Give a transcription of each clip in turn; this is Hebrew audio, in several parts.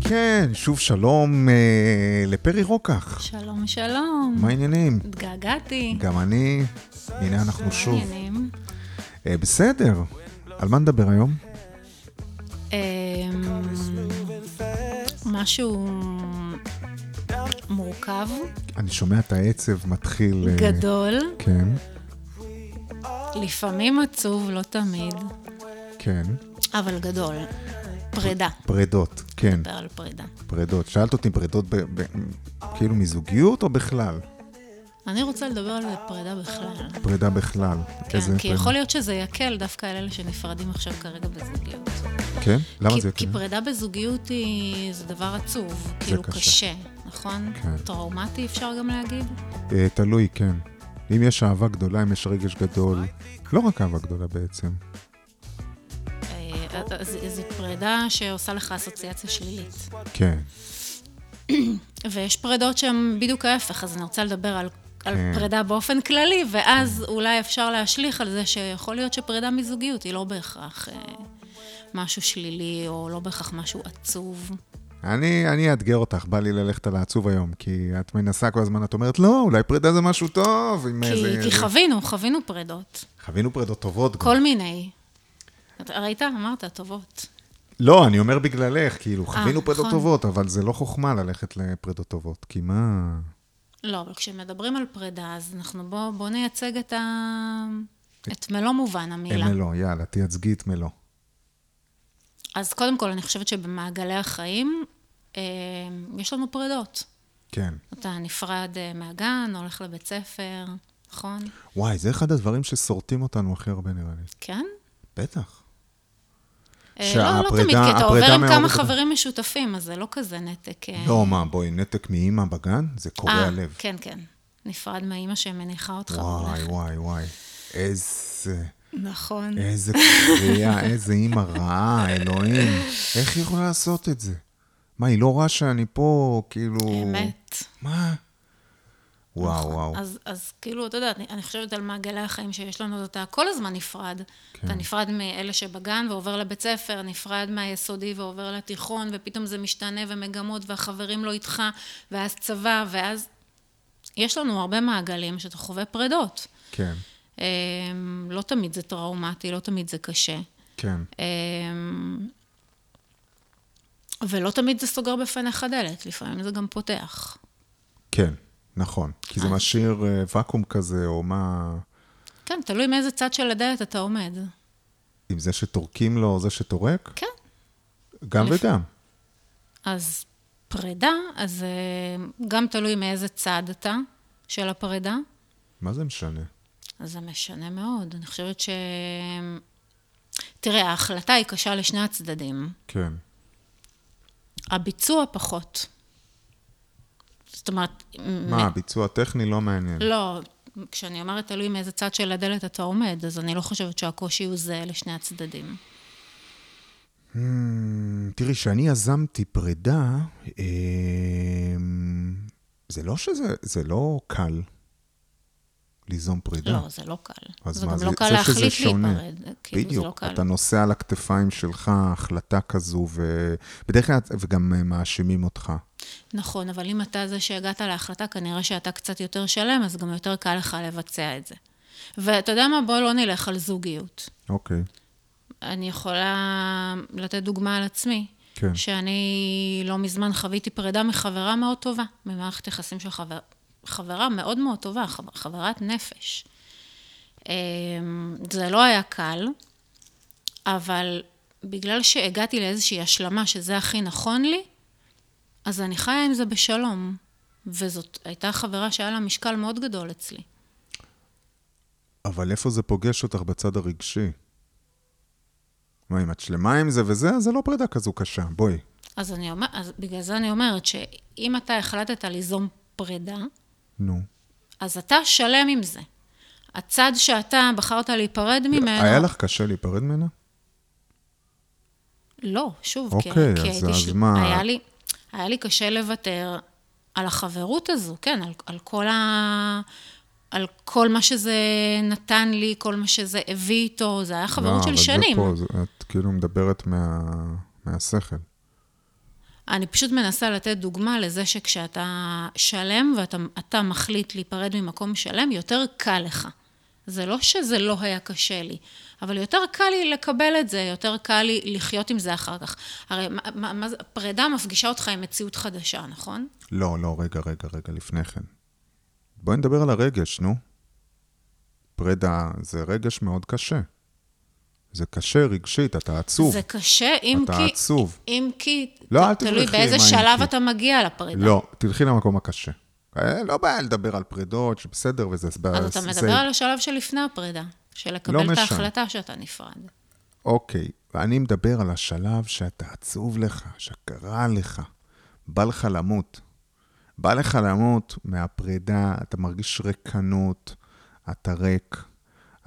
כן, שוב שלום אה, לפרי רוקח. שלום, שלום. מה העניינים? התגעגעתי. גם אני, הנה אנחנו שוב. עניינים. אה, בסדר, על מה נדבר היום? אמ, משהו מורכב, אני שומע את העצב מתחיל... אה, גדול, כן, לפעמים עצוב, לא תמיד, כן. אבל גדול. פרידה. פרדות, כן, נדבר על פרידה. פרדות. שאלת אותי פרדות ב, ב, כאילו מזוגיות או בכלל? אני רוצה לדבר על פרידה בכלל. פרידה בכלל. כן, כי פרידה? יכול להיות שזה יקל דווקא על אלה שנפרדים עכשיו כרגע בזוגיות. כן? למה כי- זה כי יקרה? פרידה בזוגיות היא... זה דבר עצוב, כאילו קשה. קשה, נכון? כן. טראומטי אפשר גם להגיד? אה, תלוי, כן. אם יש אהבה גדולה, אם יש רגש גדול. לא רק אהבה גדולה בעצם. אה, אז- אז זו פרידה שעושה לך אסוציאציה שלילית. כן. ויש פרידות שהן בדיוק ההפך, אז אני רוצה לדבר על, על כן. פרידה באופן כללי, ואז אולי אפשר להשליך על זה שיכול להיות שפרידה מזוגיות היא לא בהכרח אה, משהו שלילי, או לא בהכרח משהו עצוב. אני, אני אאתגר אותך, בא לי ללכת על העצוב היום, כי את מנסה כל הזמן, את אומרת, לא, אולי פרידה זה משהו טוב. עם כי, איזה- כי חווינו, חווינו פרידות. חווינו פרידות טובות. גם. כל מיני. אתה ראית? אמרת, טובות. לא, אני אומר בגללך, כאילו, חווינו פרידות נכון. טובות, אבל זה לא חוכמה ללכת לפרידות טובות, כי מה... לא, אבל כשמדברים על פרידה, אז אנחנו בואו בוא נייצג את, ה... את מלוא מובן המילה. הם מלוא, יאללה, תייצגי את מלוא. אז קודם כל, אני חושבת שבמעגלי החיים, אה, יש לנו פרידות. כן. אתה נפרד אה, מהגן, הולך לבית ספר, נכון? וואי, זה אחד הדברים שסורטים אותנו הכי הרבה, נראה לי. כן? בטח. אה, לא, לא שהפרידה- תמיד, כי אתה עובר הפרידה עם כמה מההורים- חברים משותפים, אז זה לא כזה נתק. אה, לא, מה, בואי, נתק מאימא בגן? זה קורע אה, לב. כן, כן. נפרד מהאימא שמניחה אותך. וואי, הולכת. וואי, וואי. איזה... נכון. איזה קריאה, איזה אימא רעה, אלוהים. איך היא יכולה לעשות את זה? מה, היא לא רואה שאני פה, כאילו... אמת. מה? וואו, וואו. אז, אז כאילו, אתה יודע, אני, אני חושבת על מעגלי החיים שיש לנו, אתה כל הזמן נפרד. כן. כן. אתה נפרד מאלה שבגן ועובר לבית ספר, נפרד מהיסודי ועובר לתיכון, ופתאום זה משתנה ומגמות, והחברים לא איתך, ואז צבא, ואז... יש לנו הרבה מעגלים שאתה חווה פרדות. כן, אה, לא תמיד זה טראומטי, לא תמיד זה קשה. כן. אמ, ולא תמיד זה סוגר בפניך דלת, לפעמים זה גם פותח. כן, נכון. כי זה משאיר אה, ואקום כזה, או מה... כן, תלוי מאיזה צד של הדלת אתה עומד. עם זה שטורקים לו, או זה שטורק? כן. גם וגם. אז פרידה, אז אה, גם תלוי מאיזה צד אתה של הפרידה, מה זה משנה? אז זה משנה מאוד. אני חושבת ש... תראה, ההחלטה היא קשה לשני הצדדים. כן. הביצוע פחות. זאת אומרת... מה, ביצוע טכני לא מעניין. לא, כשאני אומרת תלוי מאיזה צד של הדלת אתה עומד, אז אני לא חושבת שהקושי הוא זהה לשני הצדדים. Hmm, תראי, כשאני יזמתי פרידה, אמ, זה לא שזה, זה לא קל ליזום פרידה. לא, זה לא קל. אז זה מה, גם זה- לא קל זה שזה להחליט שונה. להיפרד. כאילו, זה לא בדיוק, קל. אתה נושא על הכתפיים שלך החלטה כזו, ובדרך כלל, וגם אה, מאשימים אותך. נכון, אבל אם אתה זה שהגעת להחלטה, כנראה שאתה קצת יותר שלם, אז גם יותר קל לך לבצע את זה. ואתה יודע מה? בוא לא נלך על זוגיות. אוקיי, אני יכולה לתת דוגמה על עצמי, כן. שאני לא מזמן חוויתי פרידה מחברה מאוד טובה, ממערכת יחסים של חבר... חברה מאוד מאוד טובה, חבר... חברת נפש. אמ, זה לא היה קל, אבל בגלל שהגעתי לאיזושהי השלמה שזה הכי נכון לי, אז אני חיה עם זה בשלום. וזאת הייתה חברה שהיה לה משקל מאוד גדול אצלי. אבל איפה זה פוגש אותך בצד הרגשי? מה, אם את שלמה עם זה וזה, אז זה לא פרידה כזו קשה, בואי. אז, אני אומר, אז בגלל זה אני אומרת שאם אתה החלטת ליזום פרידה, נו. אז אתה שלם עם זה. הצד שאתה בחרת להיפרד ממנו... היה לך קשה להיפרד ממנה? לא, שוב, אוקיי, כי, כי אז- הייתי... אז מה? היה לי, היה לי קשה לוותר על החברות הזו, כן, על, על כל ה... על כל מה שזה נתן לי, כל מה שזה הביא איתו, זה היה חברות לא, של אבל זה שנים. פה, זה- את כאילו מדברת מה- מהשכל. אני פשוט מנסה לתת דוגמה לזה שכשאתה שלם ואתה אתה מחליט להיפרד ממקום שלם, יותר קל לך. זה לא שזה לא היה קשה לי, אבל יותר קל לי לקבל את זה, יותר קל לי לחיות עם זה אחר כך. הרי מה, מה, מה, זה- פרידה מפגישה אותך עם מציאות חדשה, נכון? לא, לא, רגע, רגע, רגע, לפני כן. בואי נדבר על הרגש, נו. פרידה זה רגש מאוד קשה. זה קשה רגשית, אתה עצוב. זה קשה, אם אתה כי... עצוב. אם כי... לא, ת- אל תלוי תברחי באיזה עם האם שלב כי. אתה מגיע לפרידה. לא, תלכי למקום הקשה. אה, לא בעיה לדבר על פרידות, שבסדר, וזה... אז אתה מדבר לא, זה- על השלב שלפני הפרידה, של לא לקבל את משנה. ההחלטה שאתה נפרד. אוקיי, ואני מדבר על השלב שאתה עצוב לך, שקרה לך, בא לך למות. בא לך למות מהפרידה, אתה מרגיש ריקנות, אתה ריק,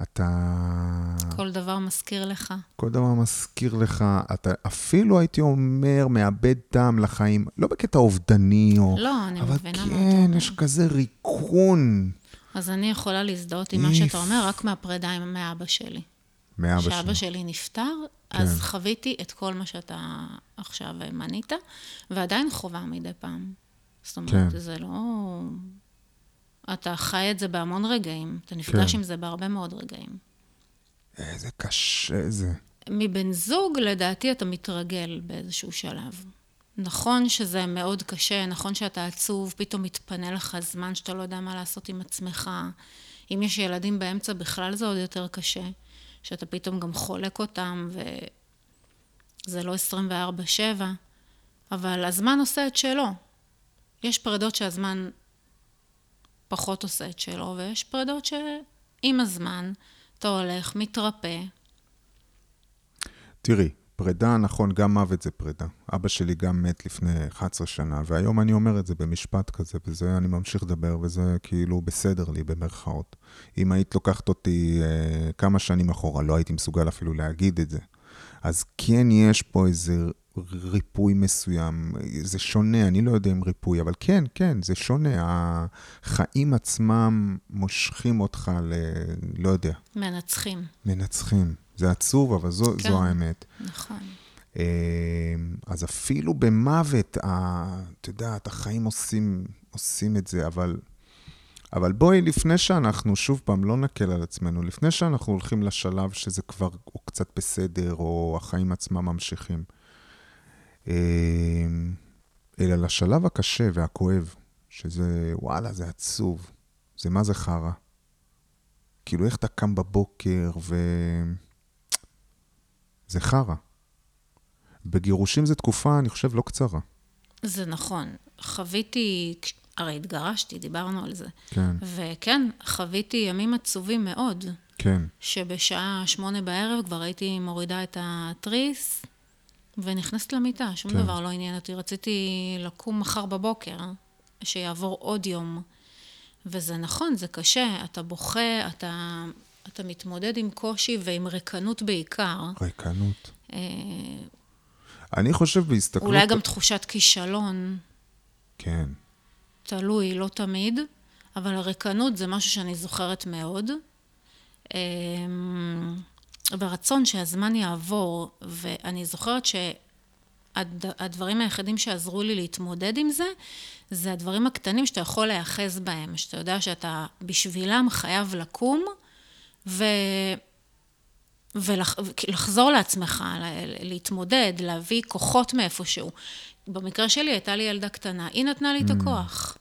אתה... כל דבר מזכיר לך. כל דבר מזכיר לך, אתה אפילו הייתי אומר, מאבד טעם לחיים, לא בקטע אובדני או... לא, אני מבינה אבל מה כן, יש כזה ריקון אז אני יכולה להזדהות עם מה איף. שאתה אומר רק מהפרידה עם מאבא שלי. מאבא שלי. כן. כשאבא שלי נפטר, אז חוויתי את כל מה שאתה עכשיו מנית, ועדיין חווה מדי פעם. זאת אומרת, כן. זה לא... אתה חי את זה בהמון רגעים, אתה נפגש כן. עם זה בהרבה מאוד רגעים. איזה קשה זה. מבן זוג, לדעתי, אתה מתרגל באיזשהו שלב. נכון שזה מאוד קשה, נכון שאתה עצוב, פתאום מתפנה לך זמן שאתה לא יודע מה לעשות עם עצמך. אם יש ילדים באמצע, בכלל זה עוד יותר קשה, שאתה פתאום גם חולק אותם, וזה לא 24-7, אבל הזמן עושה את שלו. יש פרדות שהזמן פחות עושה את שלו, ויש פרדות שעם הזמן אתה הולך, מתרפא, תראי, פרידה, נכון, גם מוות זה פרידה. אבא שלי גם מת לפני 11 שנה, והיום אני אומר את זה במשפט כזה, וזה, אני ממשיך לדבר, וזה כאילו בסדר לי, במרכאות. אם היית לוקחת אותי אה, כמה שנים אחורה, לא הייתי מסוגל אפילו להגיד את זה. אז כן יש פה איזה ריפוי מסוים, זה שונה, אני לא יודע אם ריפוי, אבל כן, כן, זה שונה. החיים עצמם מושכים אותך ל... לא יודע, מנצחים. מנצחים. זה עצוב, אבל זו, כן. כן. זו האמת. נכון. אמ, אז אפילו במוות, ה- את יודעת, החיים עושים, עושים את זה, אבל, אבל בואי, לפני שאנחנו, שוב פעם, לא נקל על עצמנו, לפני שאנחנו הולכים לשלב שזה כבר או קצת בסדר, או החיים עצמם ממשיכים, אמ, אלא לשלב הקשה והכואב, שזה, וואלה, זה עצוב, זה מה זה חרא. כאילו, איך אתה קם בבוקר ו... זה חרא. בגירושים זו תקופה, אני חושב, לא קצרה. זה נכון. חוויתי, כש- הרי התגרשתי, דיברנו על זה. כן, וכן, חוויתי ימים עצובים מאוד, כן. שבשעה שמונה בערב כבר הייתי מורידה את התריס ונכנסת למיטה, שום כן. כן. דבר לא עניין אותי. רציתי לקום מחר בבוקר, שיעבור עוד יום. וזה נכון, זה קשה, אתה בוכה, אתה, אתה מתמודד עם קושי ועם ריקנות בעיקר. ריקנות. אה, אני חושב בהסתכלות... אולי גם תחושת כישלון. כן. תלוי, לא תמיד, אבל הריקנות זה משהו שאני זוכרת מאוד. אמ, והרצון שהזמן יעבור, ואני זוכרת שהדברים היחידים שעזרו לי להתמודד עם זה, זה הדברים הקטנים שאתה יכול להיאחז בהם, שאתה יודע שאתה בשבילם חייב לקום, ו... ולחזור לעצמך, ל- להתמודד, להביא כוחות מאיפשהו. במקרה שלי הייתה לי ילדה קטנה, היא נתנה לי את הכוח.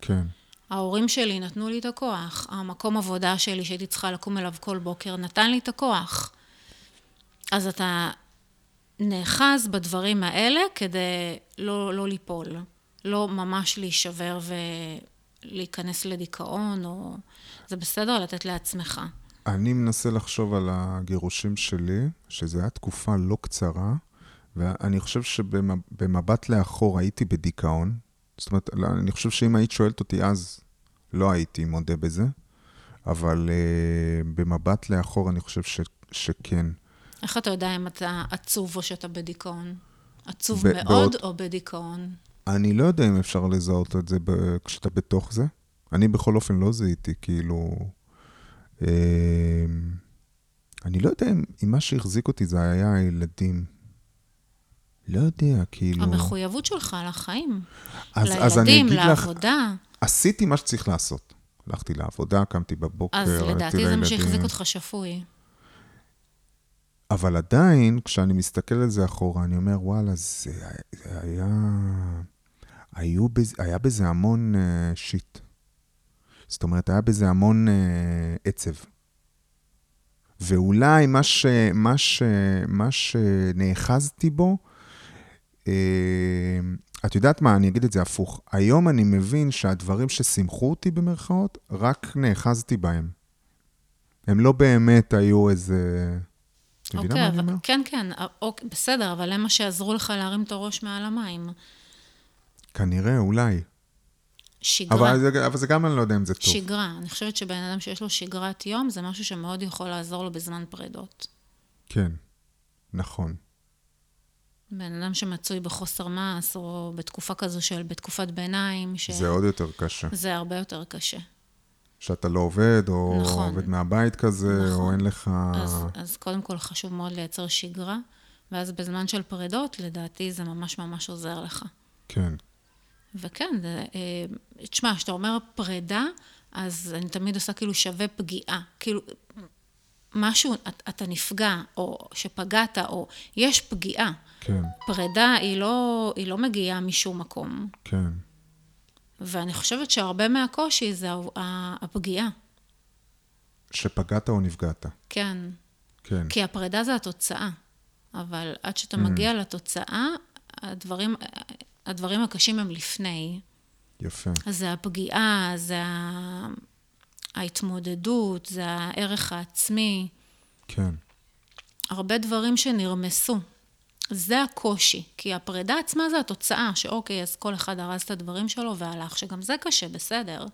כן. ההורים שלי נתנו לי את הכוח, המקום עבודה שלי שהייתי צריכה לקום אליו כל בוקר נתן לי את הכוח. אז אתה נאחז בדברים האלה כדי לא, לא ליפול, לא ממש להישבר ולהיכנס לדיכאון, או... זה בסדר לתת לעצמך. אני מנסה לחשוב על הגירושים שלי, שזו הייתה תקופה לא קצרה, ואני חושב שבמבט לאחור הייתי בדיכאון. זאת אומרת, לא, אני חושב שאם היית שואלת אותי אז, לא הייתי מודה בזה, אבל uh, במבט לאחור אני חושב ש, שכן. איך אתה יודע אם אתה עצוב או שאתה בדיכאון? עצוב ב- מאוד בעוד- או בדיכאון? אני לא יודע אם אפשר לזהות את זה ב- כשאתה בתוך זה. אני בכל אופן לא זיהיתי, כאילו... אמ, אני לא יודע אם, אם מה שהחזיק אותי זה היה הילדים. לא יודע, כאילו... המחויבות שלך לחיים, אז- אז אני לילדים, אגיד לך- לעבודה. עשיתי מה שצריך לעשות. הלכתי לעבודה, קמתי בבוקר, אז ראיתי לדעתי זה מה שהחזיק כן, לילדים. אותך שפוי. אבל עדיין, כשאני מסתכל על זה אחורה, אני אומר, וואלה, זה, זה היה... היו בזה, היה בזה המון אה, שיט. זאת אומרת, היה בזה המון אה, עצב. ואולי מה, ש, מה, ש, מה שנאחזתי בו, אה, את יודעת מה, אני אגיד את זה הפוך. היום אני מבין שהדברים ששימחו אותי במרכאות, רק נאחזתי בהם. הם לא באמת היו איזה... את מבינה מה אוקיי, אני אבל- אומר? כן, כן, אה, אוקיי, בסדר, אבל הם מה שעזרו לך להרים את הראש מעל המים. כנראה, אולי. שגרה, אבל זה, אבל זה גם, אני לא יודע אם זה טוב. שגרה. אני חושבת שבן אדם שיש לו שגרת יום, זה משהו שמאוד יכול לעזור לו בזמן פרידות. כן, נכון. בן אדם שמצוי בחוסר מעש, או בתקופה כזו של, בתקופת ביניים, ש... זה עוד יותר קשה. זה הרבה יותר קשה. שאתה לא עובד, או נכון. עובד מהבית כזה, או אין לך... אז, אז קודם כל חשוב מאוד לייצר שגרה, ואז בזמן של פרידות, לדעתי זה ממש ממש עוזר לך. כן, וכן, זה, אה, תשמע, כשאתה אומר פרידה, אז אני תמיד עושה כאילו שווה פגיעה. כאילו, משהו, את, אתה נפגע, או שפגעת, או יש פגיעה. כן, פרידה היא לא, היא לא מגיעה משום מקום. כן. ואני חושבת שהרבה מהקושי זה ה- ה- הפגיעה, שפגעת או נפגעת. כן. כן, כי הפרידה זה התוצאה. אבל עד שאתה מגיע לתוצאה, הדברים, הדברים הקשים הם לפני. יפה. אז זה הפגיעה, זה ה- ההתמודדות, זה הערך העצמי, כן, הרבה דברים שנרמסו. זה הקושי, כי הפרידה עצמה זה התוצאה, שאוקיי, אז כל אחד הרס את הדברים שלו והלך, שגם זה קשה, בסדר.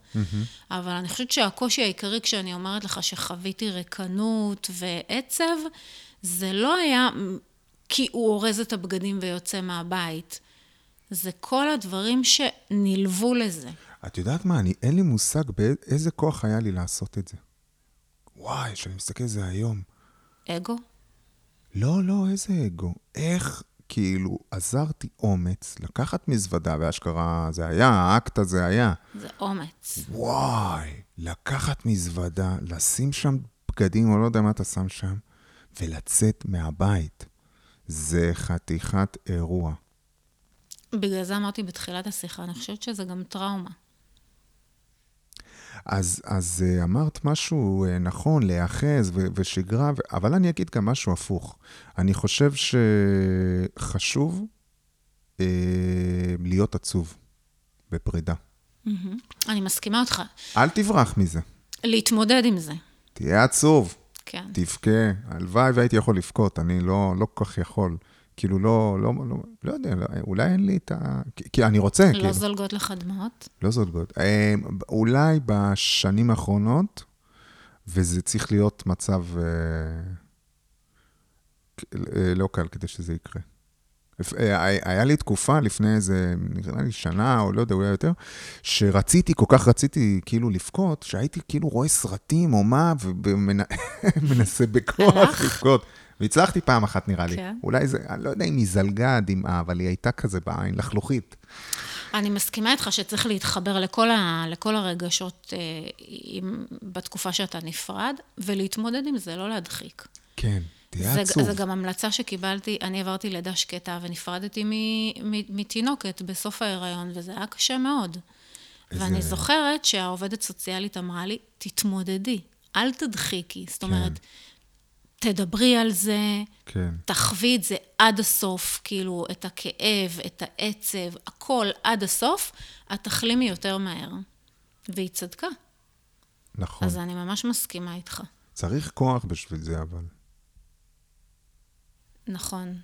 אבל אני חושבת שהקושי העיקרי כשאני אומרת לך שחוויתי ריקנות ועצב, זה לא היה מ, כי הוא אורז את הבגדים ויוצא מהבית. זה כל הדברים שנלוו לזה. את יודעת מה, אני, אין לי מושג באיזה כוח היה לי לעשות את זה. וואי, כשאני מסתכל על זה היום. אגו, לא, לא, איזה אגו. איך, כאילו, עזרתי אומץ לקחת מזוודה, ואשכרה זה היה, האקט הזה היה. זה אומץ. וואי, לקחת מזוודה, לשים שם בגדים, או לא יודע מה אתה שם שם, ולצאת מהבית. זה חתיכת אירוע. בגלל זה אמרתי בתחילת השיחה, אני חושבת שזה גם טראומה. אז, אז אה, אמרת משהו אה, נכון, להיאחז ו- ושגרה, ו- אבל אני אגיד גם משהו הפוך. אני חושב שחשוב אה, להיות עצוב בפרידה. אני מסכימה אותך. אל תברח מזה, להתמודד עם זה, תהיה עצוב. כן. תבכה, הלוואי והייתי יכול לבכות, אני לא, לא כל כך יכול. כאילו, לא, לא, לא, לא יודע, לא, אולי אין לי את ה... כי, כי אני רוצה, לא כאילו, לא זו... זולגות לך דמעות. לא זאת גוד. אה, אולי בשנים האחרונות, וזה צריך להיות מצב אה, כ- אה, לא קל כדי שזה יקרה. לפ- אה, היה- היה לי תקופה לפני איזה, נראה לי שנה, או לא יודע, אולי יותר, שרציתי, כל כך רציתי כאילו לבכות, שהייתי כאילו רואה סרטים או מה, ומנסה בכוח הלך? לבכות. והצלחתי פעם אחת, נראה לי. כן. אולי זה, אני לא יודע אם היא זלגה הדמעה, אבל היא הייתה כזה בעין, לחלוכית. אני מסכימה איתך שצריך להתחבר לכל, ה, לכל הרגשות אה, עם, בתקופה שאתה נפרד, ולהתמודד עם זה, לא להדחיק. כן, תהיה זה, עצוב. זה גם המלצה שקיבלתי, אני עברתי לידה שקטה ונפרדתי מ, מ, מתינוקת בסוף ההיריון, וזה היה קשה מאוד. איזה- איזה... ואני זוכרת שהעובדת סוציאלית אמרה לי, תתמודדי, אל תדחיקי. זאת אומרת, תדברי על זה, כן, תחווי את זה עד הסוף, כאילו, את הכאב, את העצב, הכל עד הסוף, את תחלימי יותר מהר. והיא צדקה, נכון. אז אני ממש מסכימה איתך. צריך כוח בשביל זה, אבל. נכון,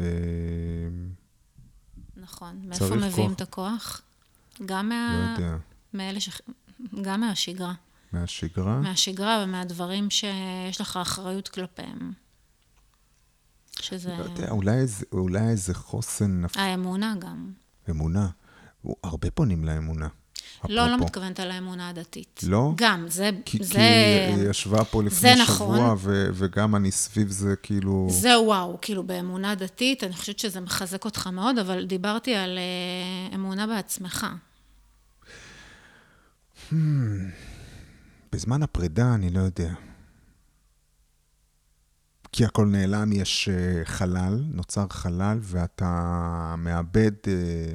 אה, נכון. מאיפה צריך מביאים כוח. את הכוח? גם לא מה... יודע, מאלה ש... גם מהשגרה. מהשגרה? מהשגרה ומהדברים שיש לך אחריות כלפיהם. שזה... לא יודע, אולי איזה, אולי איזה חוסן נפ... האמונה גם. אמונה. הוא- הרבה פונים לאמונה. לא, לא אפרופו. מתכוונת על האמונה הדתית. לא? גם, זה... כי, זה... כי היא ישבה פה לפני זה שבוע, נכון. ו, וגם אני סביב זה כאילו... זה וואו, כאילו באמונה דתית, אני חושבת שזה מחזק אותך מאוד, אבל דיברתי על אה, אמונה בעצמך. בזמן הפרידה, אני לא יודע. כי הכל נעלם, יש אה, חלל, נוצר חלל, ואתה מאבד... אה,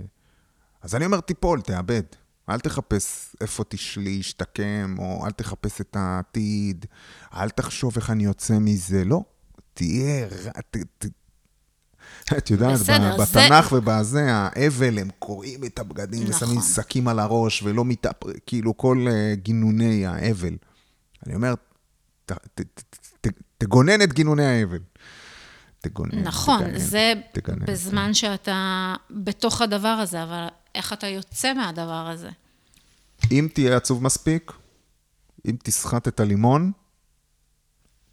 אז אני אומר, תיפול, תאבד. אל תחפש איפה תשלי, השתקם, או אל תחפש את העתיד, אל תחשוב איך אני יוצא מזה. לא, תהיה... ר- ת- ת- את יודעת, בסדר, בסדר, זה- בתנ"ך זה... ובזה, האבל, הם קורעים את הבגדים נכון. ושמים שקים על הראש, ולא מתאפר... כאילו, כל אה, גינוני האבל. אני אומר, ת, ת, ת, ת, תגונן את גינוני האבל. תגונן. נכון, תגנן, זה תגנן. בזמן שאתה בתוך הדבר הזה, אבל איך אתה יוצא מהדבר הזה? אם תהיה עצוב מספיק, אם תסחט את הלימון,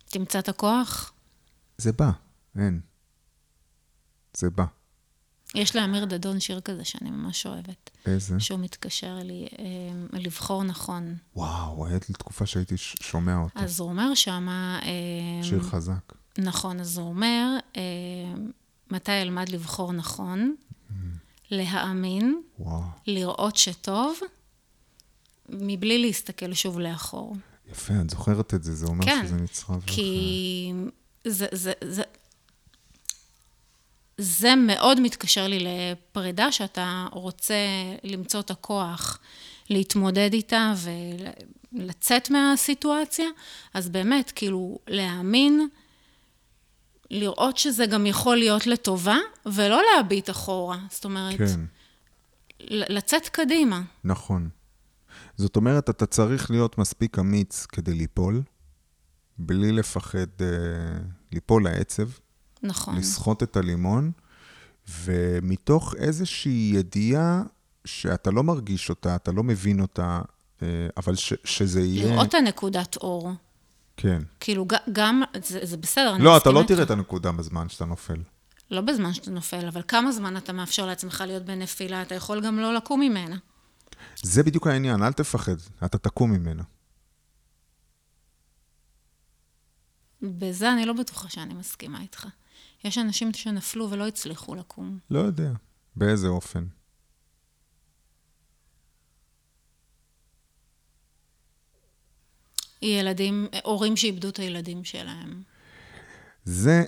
תמצא את הכוח? זה בא, אין. זה בא. יש לאמיר דדון שיר כזה שאני ממש אוהבת, איזה? שהוא מתקשר לי אה, לבחור נכון. וואו, הייתה לי תקופה שהייתי ש- שומע אותו. אז הוא אומר שמה... אה, שיר חזק. נכון, אז הוא אומר, אה, מתי אלמד לבחור נכון, להאמין, וואו, לראות שטוב, מבלי להסתכל שוב לאחור. יפה, את זוכרת את זה, זה אומר כן, שזה נצרב. לך. כי כן. זה, זה, זה, זה מאוד מתקשר לי לפרידה, שאתה רוצה למצוא את הכוח להתמודד איתה ולצאת מהסיטואציה, אז באמת, כאילו, להאמין, לראות שזה גם יכול להיות לטובה, ולא להביט אחורה. זאת אומרת, כן. ל- לצאת קדימה. נכון. זאת אומרת, אתה צריך להיות מספיק אמיץ כדי ליפול, בלי לפחד אה, ליפול לעצב, נכון. לסחוט את הלימון, ומתוך איזושהי ידיעה שאתה לא מרגיש אותה, אתה לא מבין אותה, אה, אבל ש, שזה יהיה... לראות את הנקודת אור. כן. כאילו, ג- גם, זה, זה בסדר, אני לא, אתה מסכימה לא איתך. תראה את הנקודה בזמן שאתה נופל. לא בזמן שאתה נופל, אבל כמה זמן אתה מאפשר לעצמך להיות בנפילה, אתה יכול גם לא לקום ממנה. זה בדיוק העניין, אל תפחד, אתה תקום ממנה. בזה אני לא בטוחה שאני מסכימה איתך. יש אנשים שנפלו ולא הצליחו לקום. לא יודע. באיזה אופן? ילדים, הורים שאיבדו את הילדים שלהם. זה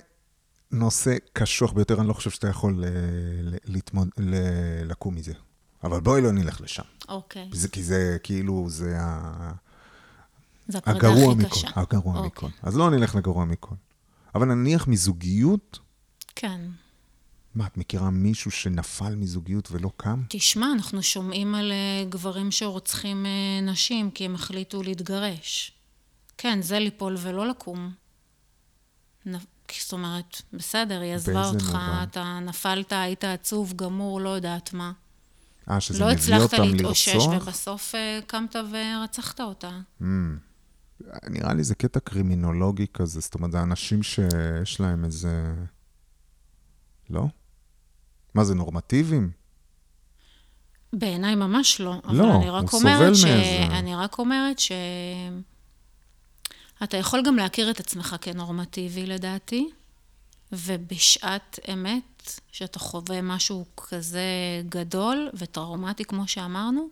נושא קשוח ביותר, אני לא חושב שאתה יכול אה, ל- להתמוד... ל- לקום מזה. אבל בואי לא נלך לשם. אוקיי. זה כי זה כאילו, זה ה... זו הפרדה הגרוע הכי מכל. קשה. הגרוע אוקיי. מכל. אז לא נלך לגרוע מכל. אבל נניח מזוגיות, כן. מה, את מכירה מישהו שנפל מזוגיות ולא קם? תשמע, אנחנו שומעים על אה, גברים שרוצחים אה, נשים כי הם החליטו להתגרש. כן, זה ליפול ולא לקום. נ- זאת אומרת, בסדר, היא עזבה באיזה אותך, מובן? אתה נפלת, היית עצוב, גמור, לא יודעת מה. אה, שזה לא מביא הצלחת אותם להתאושש, לרצוח? ובסוף אה, קמת ורצחת אותה. אה, נראה לי זה קטע קרימינולוגי כזה, זאת אומרת, זה אנשים שיש להם איזה... לא? מה, זה נורמטיביים? בעיניי ממש לא. אבל לא, אני רק הוא אומרת סובל ש... מאיזה- אני רק אומרת ש... אתה יכול גם להכיר את עצמך כנורמטיבי, לדעתי, ובשעת אמת, שאתה חווה משהו כזה גדול וטראומטי, כמו שאמרנו,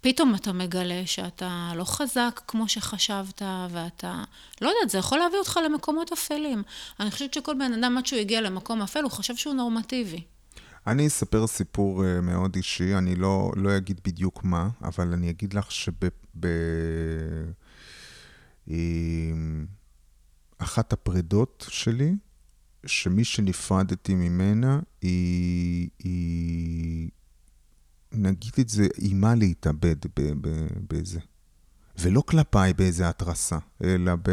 פתאום אתה מגלה שאתה לא חזק כמו שחשבת, ואתה... לא יודעת, זה יכול להביא אותך למקומות אפלים. אני חושבת שכל בן אדם, עד שהוא הגיע למקום אפל, הוא חשב שהוא נורמטיבי. אני אספר סיפור אה, מאוד אישי, אני לא, לא אגיד בדיוק מה, אבל אני אגיד לך שבאחת הפרידות שלי, שמי שנפרדתי ממנה, היא, היא נגיד את זה, אימה להתאבד ב- ב- בזה. ולא כלפיי באיזה התרסה, אלא ב...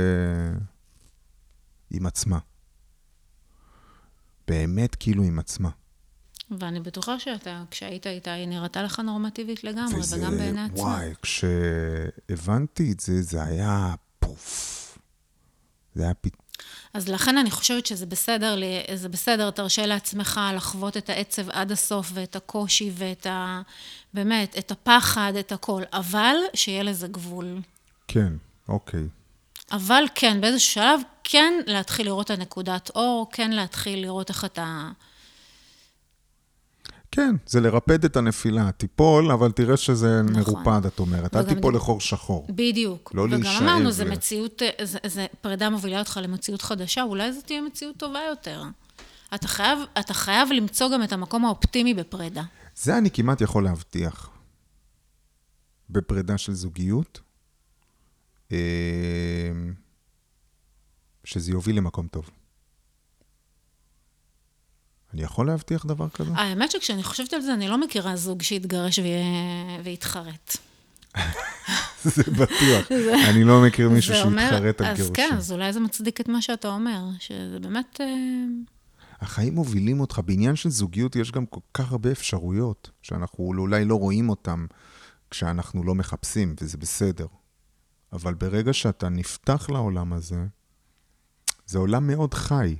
עם עצמה. באמת כאילו עם עצמה. ואני בטוחה שאתה, כשהיית איתה, היא נראתה לך נורמטיבית לגמרי, וגם בעיני עצמה. וואי, כשהבנתי את זה, זה היה פוף. זה היה פ... אז לכן אני חושבת שזה בסדר, ל- זה בסדר, תרשה לעצמך לחוות את העצב עד הסוף ואת הקושי ואת ה... באמת, את הפחד, את הכל, אבל שיהיה לזה גבול. כן, אוקיי. אבל כן, באיזשהו שלב, כן להתחיל לראות את הנקודת אור, כן להתחיל לראות איך אתה... כן, זה לרפד את הנפילה. תיפול, אבל תראה שזה נכון. מרופד, את אומרת. אל וגם תיפול זה- לחור שחור. בדיוק. לא להישאב וגם אמרנו, ל- זה מציאות, אה, זה, זה פרידה מובילה אותך למציאות חדשה, אולי זו תהיה מציאות טובה יותר. אתה חייב, אתה חייב למצוא גם את המקום האופטימי בפרידה. זה אני כמעט יכול להבטיח. בפרידה של זוגיות, אה, שזה יוביל למקום טוב. אני יכול להבטיח דבר כזה? האמת שכשאני חושבת על זה, אני לא מכירה זוג שהתגרש ויה- והתחרט. זה בטוח. אני לא מכיר מישהו זה אומר- שהתחרט על אז כן, גירושים. אז אולי זה מצדיק את מה שאתה אומר, שזה באמת... אה, החיים מובילים אותך. בעניין של זוגיות יש גם כל כך הרבה אפשרויות, שאנחנו אולי לא רואים אותן כשאנחנו לא מחפשים, וזה בסדר. אבל ברגע שאתה נפתח לעולם הזה, זה עולם מאוד חי.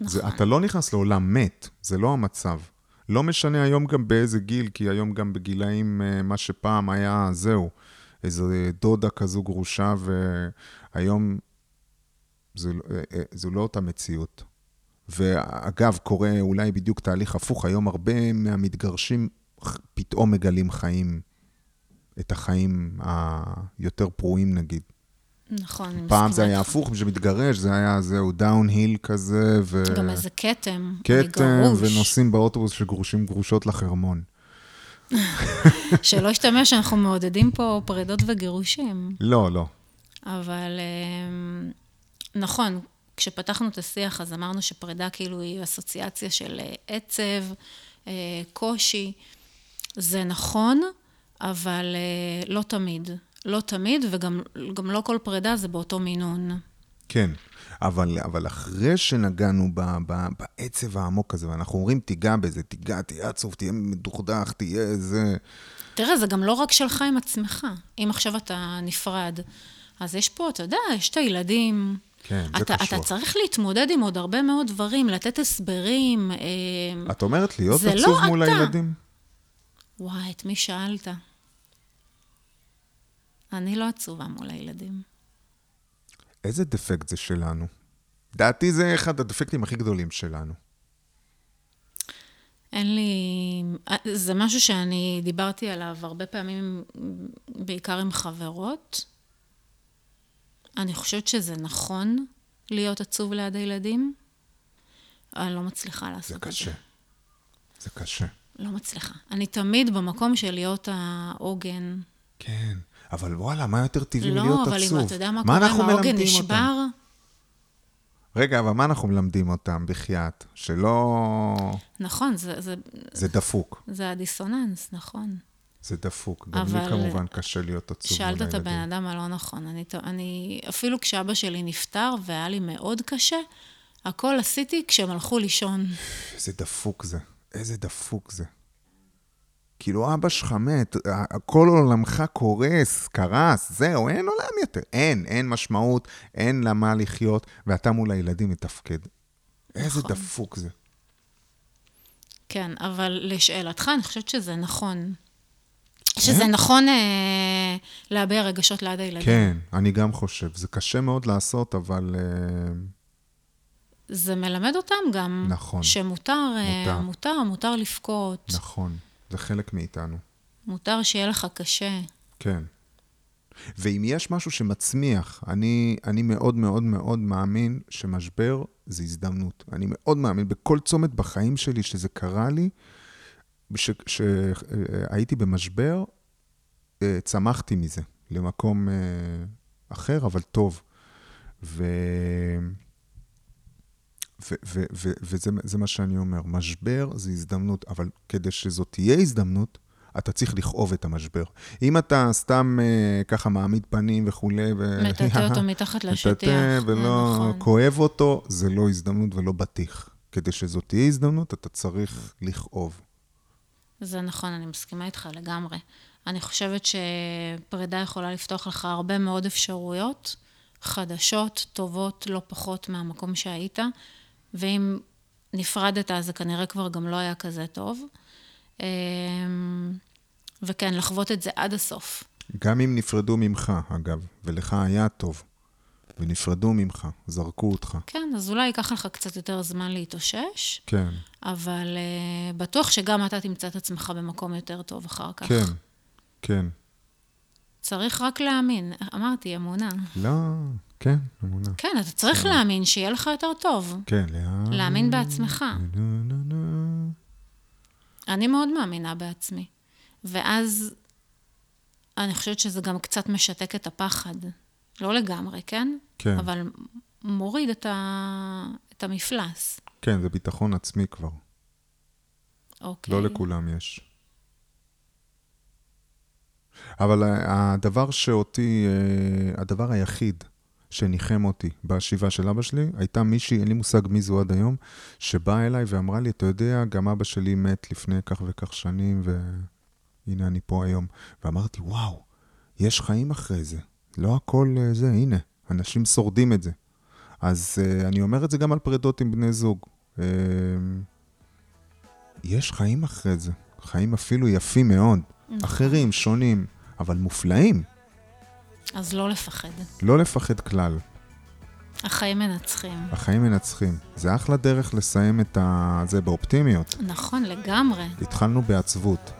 נכון. זה, אתה לא נכנס לעולם מת, זה לא המצב. לא משנה היום גם באיזה גיל, כי היום גם בגילאים, אה, מה שפעם היה, זהו, איזה דודה כזו גרושה, והיום זה, לא- אה, אה, זו לא אותה מציאות. ואגב, קורה אולי בדיוק תהליך הפוך, היום הרבה מהמתגרשים ח- פתאום מגלים חיים, את החיים היותר פרועים נגיד. נכון, אני מסכימה פעם זה היה איתך. הפוך, מי שמתגרש, זה היה זהו דאון-היל כזה, ו... גם איזה כתם, אה, כתם, גרוש, ונוסעים באוטובוס שגרושים גרושות לחרמון. שלא ישתמע שאנחנו מעודדים פה פרידות וגירושים. לא, לא. אבל אמ, נכון, כשפתחנו את השיח אז אמרנו שפרידה כאילו היא אסוציאציה של אה, עצב, אה, קושי. זה נכון, אבל אה, לא תמיד. לא תמיד, וגם גם לא כל פרידה זה באותו מינון. כן. אבל, אבל אחרי שנגענו ב, ב, בעצב העמוק הזה, ואנחנו אומרים, תיגע בזה, תיגע, תהיה עצוב, תהיה מדוכדך, תהיה זה... תראה, זה גם לא רק שלך עם עצמך. אם עכשיו אתה נפרד, אז יש פה, אתה יודע, יש את הילדים. כן, זה אתה, קשוח. אתה צריך להתמודד עם עוד הרבה מאוד דברים, לתת הסברים. אה, את אומרת להיות זה עצוב לא מול אתה. הילדים? וואי, את מי שאלת? אני לא עצובה מול הילדים. איזה דפקט זה שלנו? דעתי זה אחד הדפקטים הכי גדולים שלנו. אין לי... אה, זה משהו שאני דיברתי עליו הרבה פעמים, בעיקר עם חברות. אני חושבת שזה נכון להיות עצוב ליד הילדים. אני לא מצליחה זה לעשות את קשה. זה קשה. לא מצליחה. אני תמיד במקום של להיות העוגן. כן. אבל וואלה, מה יותר טבעי לא, מלהיות אבל עצוב? אם אתה יודע מה קורה, אם אנחנו העוגן מלמדים אותם? נשבר, רגע, אבל מה אנחנו מלמדים אותם, בחייאת? שלא... נכון, זה, זה, זה דפוק. זה הדיסוננס, נכון. זה דפוק. גם לי אבל- כמובן קשה להיות עצוב מול שאלת הילדים. את הבן אדם הלא נכון. אני, ת- אני, אפילו כשאבא שלי נפטר והיה לי מאוד קשה, הכל עשיתי כשהם הלכו לישון. איזה דפוק זה. איזה דפוק זה. כאילו, אבא שלך מת, ה- כל עולמך קורס, קרס, זהו, אין עולם יותר. אין, אין משמעות, אין למה לחיות, ואתה מול הילדים מתפקד. איזה נכון. דפוק זה. כן, אבל לשאלתך, אני חושבת שזה נכון. כן? שזה נכון אה, להביע רגשות ליד הילדים. כן, אני גם חושב. זה קשה מאוד לעשות, אבל... אה, זה מלמד אותם גם. נכון. שמותר, מותר. מותר, מותר, מותר לבכות, נכון. נכון, זה חלק מאיתנו. מותר שיהיה לך קשה. כן. ואם יש משהו שמצמיח, אני, אני מאוד מאוד מאוד מאמין שמשבר זה הזדמנות. אני מאוד מאמין בכל צומת בחיים שלי שזה קרה לי, שהייתי במשבר, אה, צמחתי מזה למקום אה, אחר, אבל טוב. ו... ו- ו- ו- וזה זה מה שאני אומר, משבר זה הזדמנות, אבל כדי שזו תהיה הזדמנות, אתה צריך לכאוב את המשבר. אם אתה סתם אה, ככה מעמיד פנים וכולי, ו... מטאטא אותו מתחת לשטיח. אה, מטאטא אה, ולא נכון. כואב אותו, זה לא הזדמנות ולא בטיח. כדי שזו תהיה הזדמנות, אתה צריך לכאוב. זה נכון, אני מסכימה איתך לגמרי. אני חושבת שפרידה יכולה לפתוח לך הרבה מאוד אפשרויות, חדשות, טובות, לא פחות מהמקום שהיית, ואם נפרדת, אז זה כנראה כבר גם לא היה כזה טוב. אה, וכן, לחוות את זה עד הסוף. גם אם נפרדו ממך, אגב, ולך היה טוב, ונפרדו ממך, זרקו אותך. כן, אז אולי ייקח לך קצת יותר זמן להתאושש, כן, אבל אה, בטוח שגם אתה תמצא את עצמך במקום יותר טוב אחר כך. כן, כן. צריך רק להאמין. אמרתי, אמונה. לא, כן, אמונה. כן, אתה צריך להאמין שיהיה לך יותר טוב. כן, לאן... להאמין בעצמך. נו, נו, נו. אני מאוד מאמינה בעצמי. ואז אני חושבת שזה גם קצת משתק את הפחד. לא לגמרי, כן? כן, אבל מוריד את, ה... את המפלס. כן, זה ביטחון עצמי כבר. אוקיי. לא לכולם יש. אבל ה- הדבר שאותי, אה, הדבר היחיד שניחם אותי בשבעה של אבא שלי, הייתה מישהי, אין לי מושג מי זו עד היום, שבאה אליי ואמרה לי, אתה יודע, גם אבא שלי מת לפני כך וכך שנים, והנה אני פה היום. ואמרתי, וואו, יש חיים אחרי זה. לא הכל אה, זה, הנה, אנשים שורדים את זה. אז uh, אני אומר את זה גם על פרידות עם בני זוג. Uh, יש חיים אחרי זה, חיים אפילו יפים מאוד. נכון. אחרים, שונים, אבל מופלאים. אז לא לפחד. לא לפחד כלל, החיים מנצחים. החיים מנצחים. זה אחלה דרך לסיים את ה... זה באופטימיות. נכון, לגמרי. התחלנו בעצבות.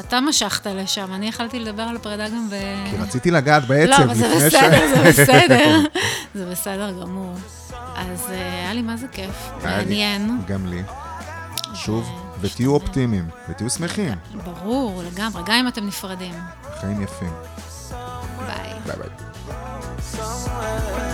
אתה משכת לשם, אני יכלתי לדבר על פרידה גם ב... כי רציתי לגעת בעצב לא, אבל זה לפני ש... בסדר, זה בסדר. זה בסדר גמור. אז אה, היה לי מה זה כיף. היה לי. מעניין. גם לי. שוב, אה, ותהיו אופטימיים, ותהיו שמחים. ברור, לגמרי, גם אם אתם נפרדים. חיים יפים. ביי. ביי ביי. somewhere